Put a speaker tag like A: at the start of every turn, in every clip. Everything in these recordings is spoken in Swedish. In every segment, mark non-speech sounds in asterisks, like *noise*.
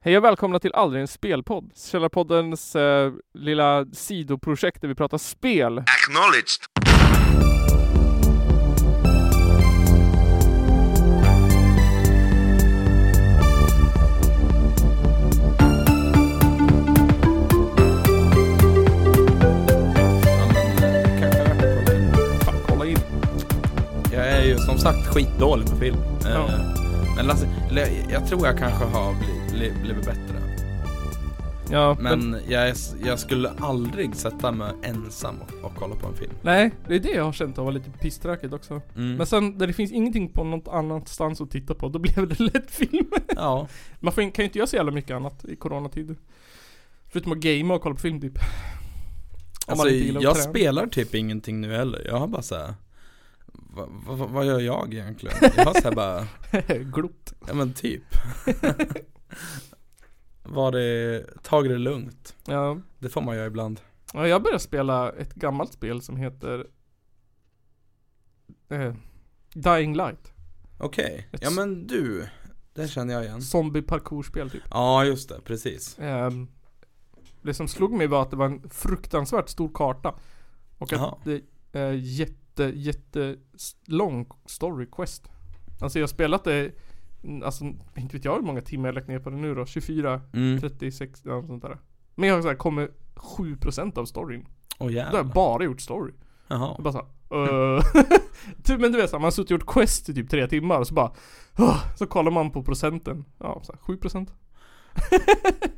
A: Hej och välkomna till Aldrig en spelpodd, Källarpoddens eh, lilla sidoprojekt där vi pratar spel.
B: Acknowledged.
A: Fan, kolla in.
C: Jag är ju som sagt skitdålig på film. Eh,
A: Ja.
C: Men Lasse, eller jag, jag tror jag kanske har bli, bli, blivit bättre.
A: Ja, men...
C: Men jag, är, s- jag skulle aldrig sätta mig ensam och, och kolla på en film.
A: Nej, det är det jag har känt av, var lite pisstråkigt också. *laughs*
C: Mm.
A: Men sen, där det finns ingenting på något annanstans att titta på, då blev det *laughs* lätt film.
C: Ja,
A: Man får, in- kan ju inte göra så jävla mycket annat i coronatider. Förutom att gamea och kolla på film typ. *laughs* Om
C: alltså,
A: gillar att
C: jag
A: träna.
C: spelar typ ingenting nu heller. Jag har bara såhär, vad va, va, vad gör
A: *laughs*
C: jag egentligen? Jag har såhär bara,
A: Glott.
C: ja men
A: *laughs*
C: typ. Var det, tag det lugnt.
A: Ja.
C: Det får man göra ibland.
A: ja, jag började spela ett gammalt spel som heter eh, Dying Light.
C: Okej,
A: Ett-
C: ja men du, det känner jag igen.
A: Zombie parkourspel typ.
C: Ja just det, precis.
A: Ehm, det som slog mig var att det var en fruktansvärt stor karta. Och att
C: Jaha.
A: det är jätte, jätte s- lång story quest. Alltså jag har spelat det, mm, alltså inte vet jag hur många timmar jag lagt ner på det nu då. 24,
C: Mm.
A: 36, ja, sånt där. Men jag har så här, kommer 7% av storyn.
C: Åh
A: Då har jag
C: jävlar.
A: bara gjort story.
C: Jaha.
A: Jag bara såhär, uh, *laughs* typ, men du vet såhär, man har suttit och gjort quest i typ tre timmar och så bara, "Åh", så kollar man på procenten. Ja, så här, 7%.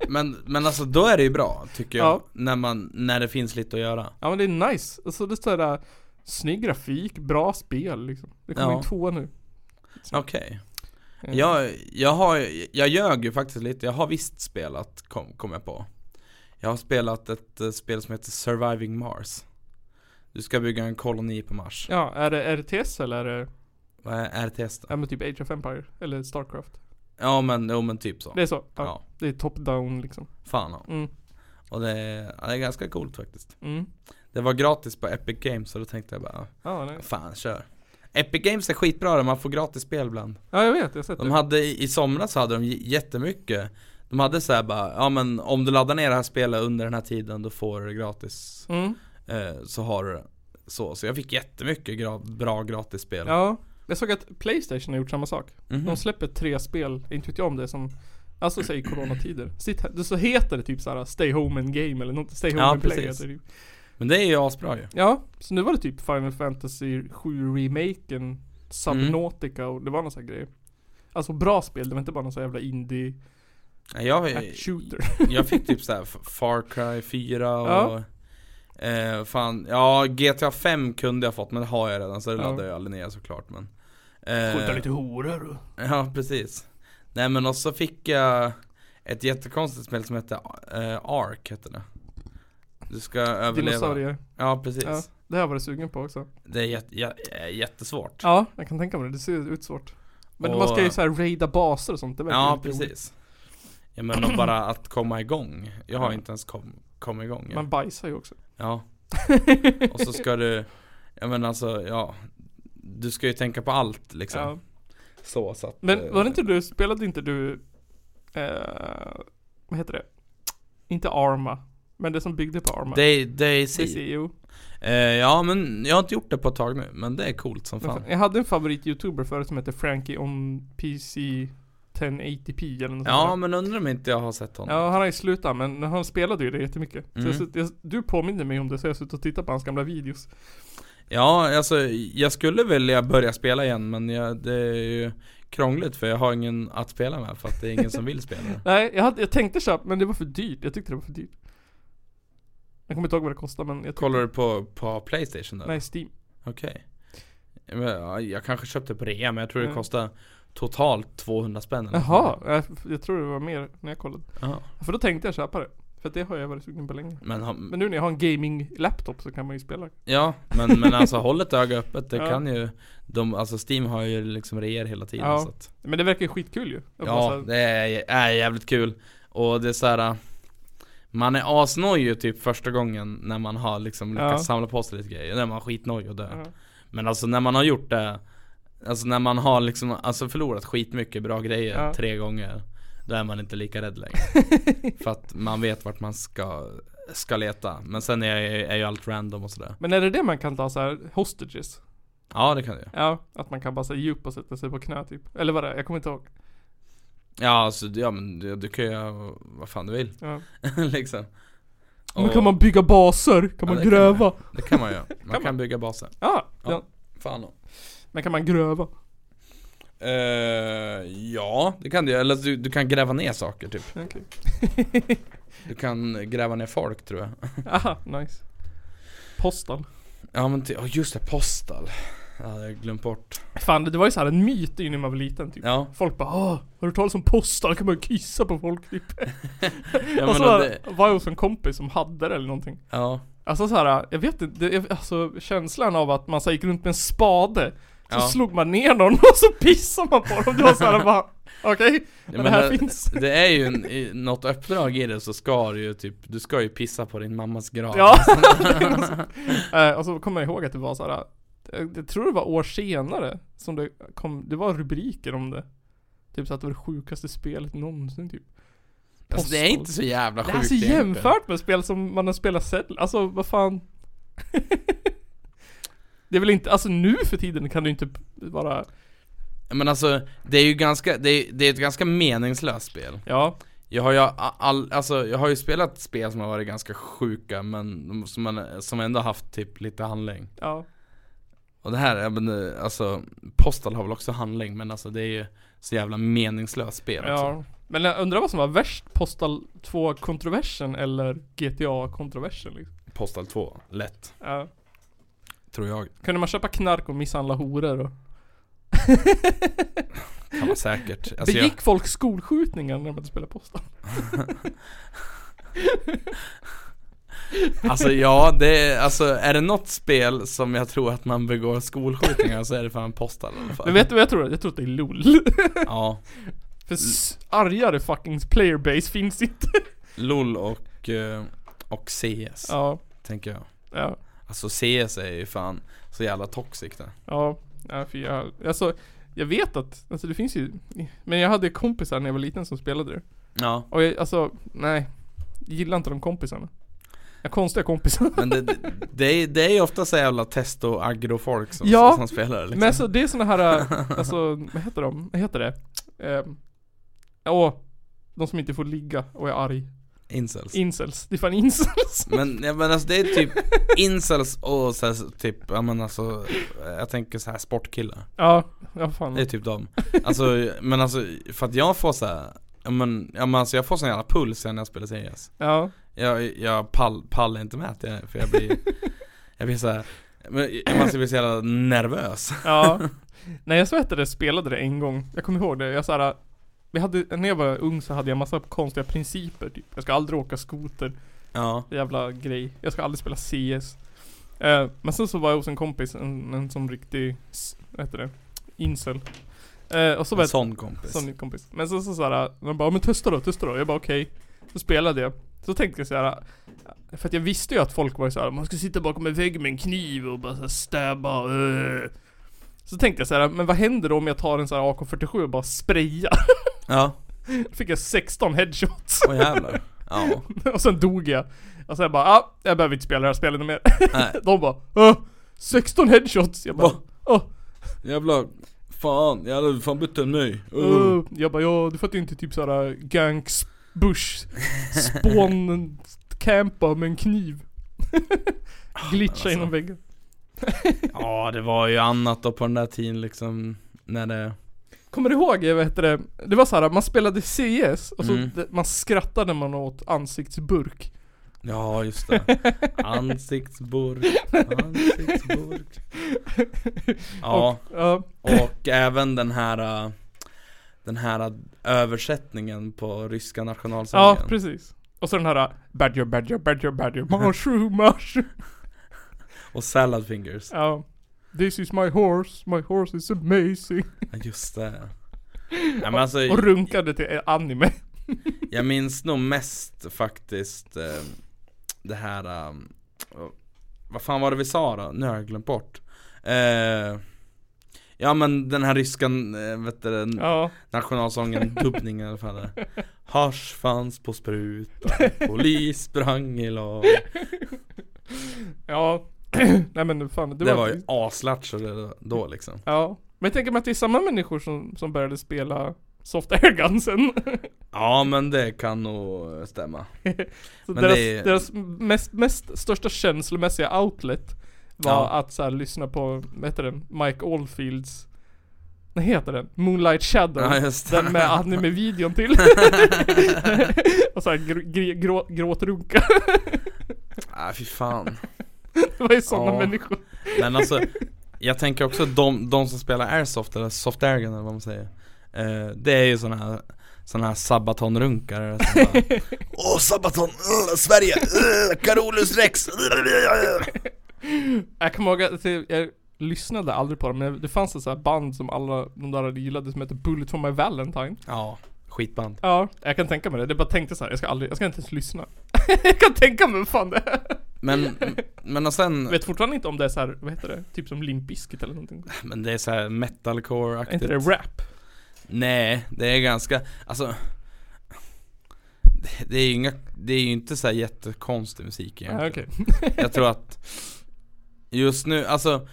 C: Men, men alltså då är det ju bra tycker jag.
A: Ja.
C: När, man, när det finns lite att göra.
A: Ja men det är nice. Alltså det är såhär, snygg grafik, bra spel liksom. Det kommer
C: Ja.
A: en tvåa nu.
C: Okej.
A: Eh,
C: Jag, jag har, jag ljög ju faktiskt lite. Jag har visst spelat, kom, kom jag på. Jag har spelat ett eh, spel som heter Surviving Mars. Du ska bygga en koloni på Mars.
A: Ja, är det RTS eller är det,
C: Vad är RTS då?
A: ja men typ Age of Empire? Eller Starcraft?
C: Ja men, jo, men typ så.
A: Det är så? Ja.
C: Ja,
A: Det är top-down liksom.
C: fan ja.
A: Mm,
C: Och det är, ja, det är ganska coolt faktiskt.
A: mm.
C: Det var gratis på Epic Games så då tänkte jag bara,
A: Ja, nej.
C: ja, fan kör. Epic Games är skitbra där man får gratis spel ibland.
A: ja jag vet, jag har sett
C: De
A: det.
C: hade i i somras hade de j- jättemycket De hade så här bara, ja men om du laddar ner det här spelet under den här tiden då får du det gratis
A: Mm.
C: eh, Så har du det. så, så jag fick jättemycket gra- bra gratis spel
A: Ja. Jag såg att Playstation har gjort samma sak.
C: Mhm.
A: De släpper tre spel, inte vet jag om det som Alltså säg coronatider. Sitt här, så heter det typ såhär Stay Home and Game eller något, Stay Home
C: Ja,
A: and Play
C: precis.
A: heter det. ju.
C: Men det är ju asbra ju
A: Ja, så nu var det typ Final Fantasy 7 remaken Subnautica
C: Mm.
A: och det var någon sån här grej. Alltså bra spel, det var inte bara någon sån jävla indie
C: Nej, jag,
A: hack shooter.
C: jag fick typ så här F- Far Cry 4 och
A: Ja.
C: eh, Fan, ja GTA 5 kunde jag fått men det har jag redan så det
A: Ja.
C: laddar jag aldrig ner såklart men eh,
A: horor och...
C: Ja, precis. Nej men och så fick jag ett jättekonstigt spel som hette eh, Ark, hette det. Du ska överleva.
A: Dinosaurier.
C: Ja, precis.
A: Ja, det här var det sugen på också.
C: Det är jätte, jä, eh, jättesvårt.
A: Ja, jag kan tänka mig det. Det ser ut svårt. Men
C: Och-
A: man ska ju såhär raida baser och sånt. Det verkar
C: Ja,
A: lite roligt.
C: precis. Ja men och bara att komma igång. Jag har
A: Ja.
C: inte ens kom, kommit igång. än.
A: Man bajsar ju också. *laughs*
C: Ja. Och så ska du, ja men alltså, ja. Du ska ju tänka på allt liksom.
A: Ja.
C: Så, så att, eh,
A: Men var det inte du, spelade inte du, eh, vad heter det? Inte Arma, men det som byggde på Arma.
C: Day, Daisy.
A: DCO.
C: Eh, ja men jag har inte gjort det på ett tag nu, men det är coolt som fan.
A: Jag hade en favorit-youtuber förut som hette Frankie on PC 1080p eller något
C: Ja
A: sånt
C: men undrar om inte jag har sett
A: där.
C: honom.
A: Ja, han har ju slutat men han spelade ju det jättemycket. Så jag,
C: Mm.
A: satt- jag, du påminner mig om det så jag har suttit och tittat på hans gamla videos.
C: Ja, alltså jag skulle vilja börja spela igen men jag, det är ju krångligt för jag har ingen att spela med för att det är ingen som vill
A: *laughs*
C: spela. det.
A: Nej, jag, hade, jag tänkte köpa men det var för dyrt. Jag tyckte det var för dyrt. Jag kommer inte ihåg vad det kostade men jag tyckte,
C: Kollar du på, på Playstation då?
A: Nej, Steam.
C: Okej. Men, ja, Jag kanske köpte på rea men jag tror det
A: Mm.
C: kostade totalt 200 spänn eller något
A: Jaha,
C: sånt
A: jag, jag tror det var mer när jag kollade.
C: där. Ja.
A: För då tänkte jag köpa det. För att det har jag varit sugen på länge.
C: Men, ha-
A: Men nu när jag har en gaming-laptop så kan man ju spela.
C: ja, men,
A: *laughs*
C: men alltså håll ett öga öppet. Det
A: Ja.
C: kan ju, de, alltså Steam har ju liksom reor hela tiden.
A: Ja.
C: Så att,
A: Men det verkar ju skitkul ju. Jag bara så
C: Ja,
A: här-
C: det är, är jävligt kul. Och det är så här. Man är asnojig typ första gången när man har liksom lyckats
A: Ja.
C: samla på sig lite grejer. När man är skitnojig och dör.
A: ja.
C: Men alltså när man har gjort det Alltså när man har liksom, alltså förlorat skitmycket bra grejer
A: Ja.
C: tre gånger Då är man inte lika rädd *laughs* längre. För att man vet vart man ska, ska leta. Men sen är, ju- är ju allt random och sådär.
A: Men är det det man kan ta så här hostages?
C: Ja det kan jag.
A: Ja, att man kan bara säga djup och sätta sig på knä typ. Eller vad det är, jag kommer inte ihåg.
C: Ja alltså, ja men du, du kan göra vad fan du vill. *laughs*
A: Ja.
C: liksom.
A: Men
C: Och-
A: kan man bygga baser? Kan
C: Ja,
A: man
C: det kan
A: gräva?
C: Det kan *laughs* man göra. Man
A: man.
C: kan, bygga baser.
A: Ja,
C: Ja.
A: ja.
C: Fan om.
A: Men kan man gräva?
C: Eh, ja, det kan du göra. Eller du, du kan gräva ner saker typ.
A: Okej. *laughs*
C: Du kan gräva ner folk tror jag.
A: Aha, nice. Postal.
C: Ja men ty- ja, just det, postal. Ja, det har jag glömt bort.
A: Fan, det var ju så här en myt när man var liten typ.
C: Ja.
A: Folk bara Åh, har du talat om postal? Kan man ju kissa på folk typ? *laughs*
C: Jag
A: och så
C: menar,
A: här, var jag hos en kompis som hade det eller någonting.
C: ja.
A: Alltså så här, jag vet inte, det, alltså känslan av att man så här, gick runt med en spade Så
C: Ja.
A: slog man ner någon *laughs* och så pissade man på dem, det var såhär bara Okej, men det här
C: menar,
A: finns
C: Det är ju en, i, något uppdrag i det så ska du ju typ, du ska ju pissa på din mammas grav.
A: Ja!
C: *laughs*
A: Eh, och så kommer jag ihåg att det var såhär jag, jag tror det var år senare som det kom, det var rubriker om det Typ så att det var det sjukaste spelet någonsin typ
C: alltså, det är inte så jävla
A: Det
C: sjukt
A: här är så
C: egentligen.
A: jämfört med spel som man har spelat sällan, alltså vad fan *laughs* Det är väl inte, alltså nu för tiden kan du inte vara,
C: Men alltså, det är ju ganska, det är, det är ett ganska meningslöst spel.
A: ja
C: Jag har, ju all, alltså, jag har ju spelat spel som har varit ganska sjuka men de- som, man, som ändå haft typ lite handling.
A: Ja,
C: Och det här, ja, men, eh, alltså Postal har väl också handling men alltså det är ju så jävla meningslöst spel alltså. också.
A: ja. Men jag undrar vad som var värst, Postal 2-kontroversen eller GTA-kontroversen liksom.
C: Postal 2, lätt.
A: ja.
C: Tror jag.
A: Kunde man köpa knark och misshandla horor och
C: Kan
A: *laughs*
C: vara säkert. Alltså,
A: Begick folk skolskjutningar när man spelade Postal?
C: jag, alltså ja, det är, alltså är det något spel som jag tror att man begår skolskjutningar så är det fan Postal i alla fall.
A: Men vet du vad jag tror? Jag tror att det är LOL *laughs*
C: Ja.
A: För s- argare fucking playerbase finns inte
C: LOL och, eh, och CS,
A: Ja,
C: tänker jag.
A: ja,
C: Alltså CS är ju fan så jävla toxic det.
A: ja, ja för jag, alltså jag vet att, alltså det finns ju Men jag hade kompisar när jag var liten som spelade det
C: Ja.
A: Och jag, alltså, nej jag Gillar inte de kompisarna Jag har konstiga kompisar *laughs*
C: Men det, det, är, det är ju ofta så jävla test och aggro-folk som,
A: Ja,
C: som spelar liksom.
A: Men alltså det är såna här, äh, alltså vad heter de? Vad heter det? Ehm, åh, de som inte får ligga och är arg.
C: Incels.
A: Incels. Det är fan incels. *laughs*
C: men, ja, men alltså det är typ incels och så här, typ, ja men alltså Jag tänker så här sportkillar.
A: Ja, ja
C: Det är
A: fan.
C: typ dem. Alltså, men alltså för att jag får så här, ja men, ja, men alltså jag får sån jävla puls när jag spelar CS.
A: Ja,
C: Jag, jag pall, pallar inte med det, för jag blir, jag blir så här, men, jag måste bli så jävla nervös.
A: ja. Nej jag svettade spelade det en gång. Jag kommer ihåg det. Jag såhär, vi hade, när jag var ung så hade jag massa konstiga principer typ. Jag ska aldrig åka skoter.
C: Ja,
A: jävla grej. Jag ska aldrig spela CS. Eh, men sen så var jag hos en kompis, en, en som riktig, s- vad heter det? Incel. Eh, och så var
C: en
A: jag
C: sån kompis.
A: Som min kompis. Men sen så såhär, de bara 'Men testa då, testa då' Jag bara okej. Så spelade jag. Så tänkte jag såhär, för att jag visste ju att folk var såhär 'Man ska sitta bakom en vägg med en kniv och bara såhär stäba' uh. Så tänkte jag såhär, men vad händer då om jag tar en sån här AK47 och bara sprayar? *laughs*
C: Ja,
A: Då fick jag 16 headshots. *laughs*
C: åh jävlar. Ja,
A: och sen dog jag. Och sen bara, ah, jag behöver inte spela det här spelet mer. *laughs*
C: nej.
A: De bara, ah, 16 headshots! Jag bara,
C: Va?
A: ah,
C: Jävla fan, jag hade fan bytt en ny. Uh.
A: Uh. Jag bara, ja du fattar ju inte typ såhär gangs, bush,
C: *laughs*
A: spawn, campa med en kniv. Glitcha
C: alltså.
A: inom väggen.
C: Ja det var ju annat då på den där tiden liksom När det,
A: Kommer du ihåg, eh, vad heter det? Det var såhär, man spelade CS och så
C: Mm.
A: d- man skrattade man åt ansiktsburk.
C: *laughs* ja just det Ansiktsburk, ansiktsburk Ja,
A: *laughs* Ja,
C: och även den här äh, Den här äh, översättningen på ryska
A: ja
C: nationalsången
A: precis. Och så den här, äh, badger, badger, badger, badger, *laughs* mushroom, mushroom.
C: Och salad fingers
A: Ja. This is my horse, my horse is amazing.
C: Ja, Just det ja, men alltså,
A: Och runkade till eh,
C: Mm.
A: anime.
C: Jag minns nog mest faktiskt eh, Det här eh, Vad fan var det vi sa då? Nu har jag glömt bort eh, Ja men den här ryskan, eh, vet du, den
A: Ja, *laughs*
C: nationalsången, dubbningen eller vad fan det är. Hasch fanns på sprutan,
A: *laughs*
C: polis sprang i lag
A: ja. *clears throat* Nej men fan, det,
C: Det
A: var
C: var ju aslatcher då liksom
A: Ja. Men jag tänker mig att det är samma människor som, som började spela Soft Air Gun sen. *laughs*
C: Ja men det kan nog stämma
A: Så
C: Men
A: deras,
C: det är-
A: deras mest, mest största känslomässiga outlet var
C: Ja.
A: att så här, lyssna på, vad heter den, Mike Oldfields vad heter den? Moonlight Shadow.
C: Ja, just det.
A: den med
C: *laughs*
A: anime-videon till. *laughs* och såhär gr- gr- grå- gråtrunka. *laughs*
C: Nej Ah, fy fan
A: Det var ju sådana
C: Ja.
A: människor.
C: Men alltså Jag tänker också att de, de som spelar airsoft eller soft airgun eller vad man säger eh, Det är ju såna här Såna här sabatonrunkare som bara, *laughs* Åh sabaton, uh, Sverige, uh, Carolus Rex
A: Jag kommer ihåg att jag- jag lyssnade aldrig på dem, men det fanns ett så här band som alla de där gillade som hette Bullet for my Valentine.
C: *laughs* Ja, skitband
A: Ja, jag kan tänka mig det. Det bara tänkte så här, jag ska aldrig, jag ska inte ens lyssna. *laughs* jag kan tänka mig vad fan det är.
C: Men, men och sen
A: Jag vet fortfarande inte om det är så här, vad heter det? Typ som Limp Bizkit eller någonting.
C: Men det är så här
A: Är inte det
C: metalcore-aktigt
A: rap?
C: Nej, det är ganska, alltså det- det är ju inga, det är ju inte så här jättekonstig musik
A: Ja,
C: egentligen
A: Ah, okej.
C: Jag tror att Just nu, alltså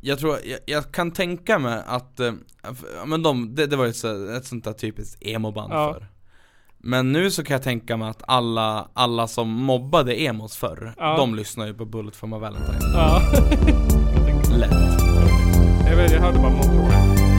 C: Jag tror, jag, jag kan tänka mig att eh, f- ja, Men de, det, det var ju så, ett sånt där typiskt emo-band
A: Ja.
C: förr Men nu så kan jag tänka mig att alla, alla som mobbade emos förr
A: Ja.
C: De lyssnar ju på Bullet for my Valentine
A: Ja. *laughs*
C: Lätt
A: jag vet, jag hörde bara många
C: eh,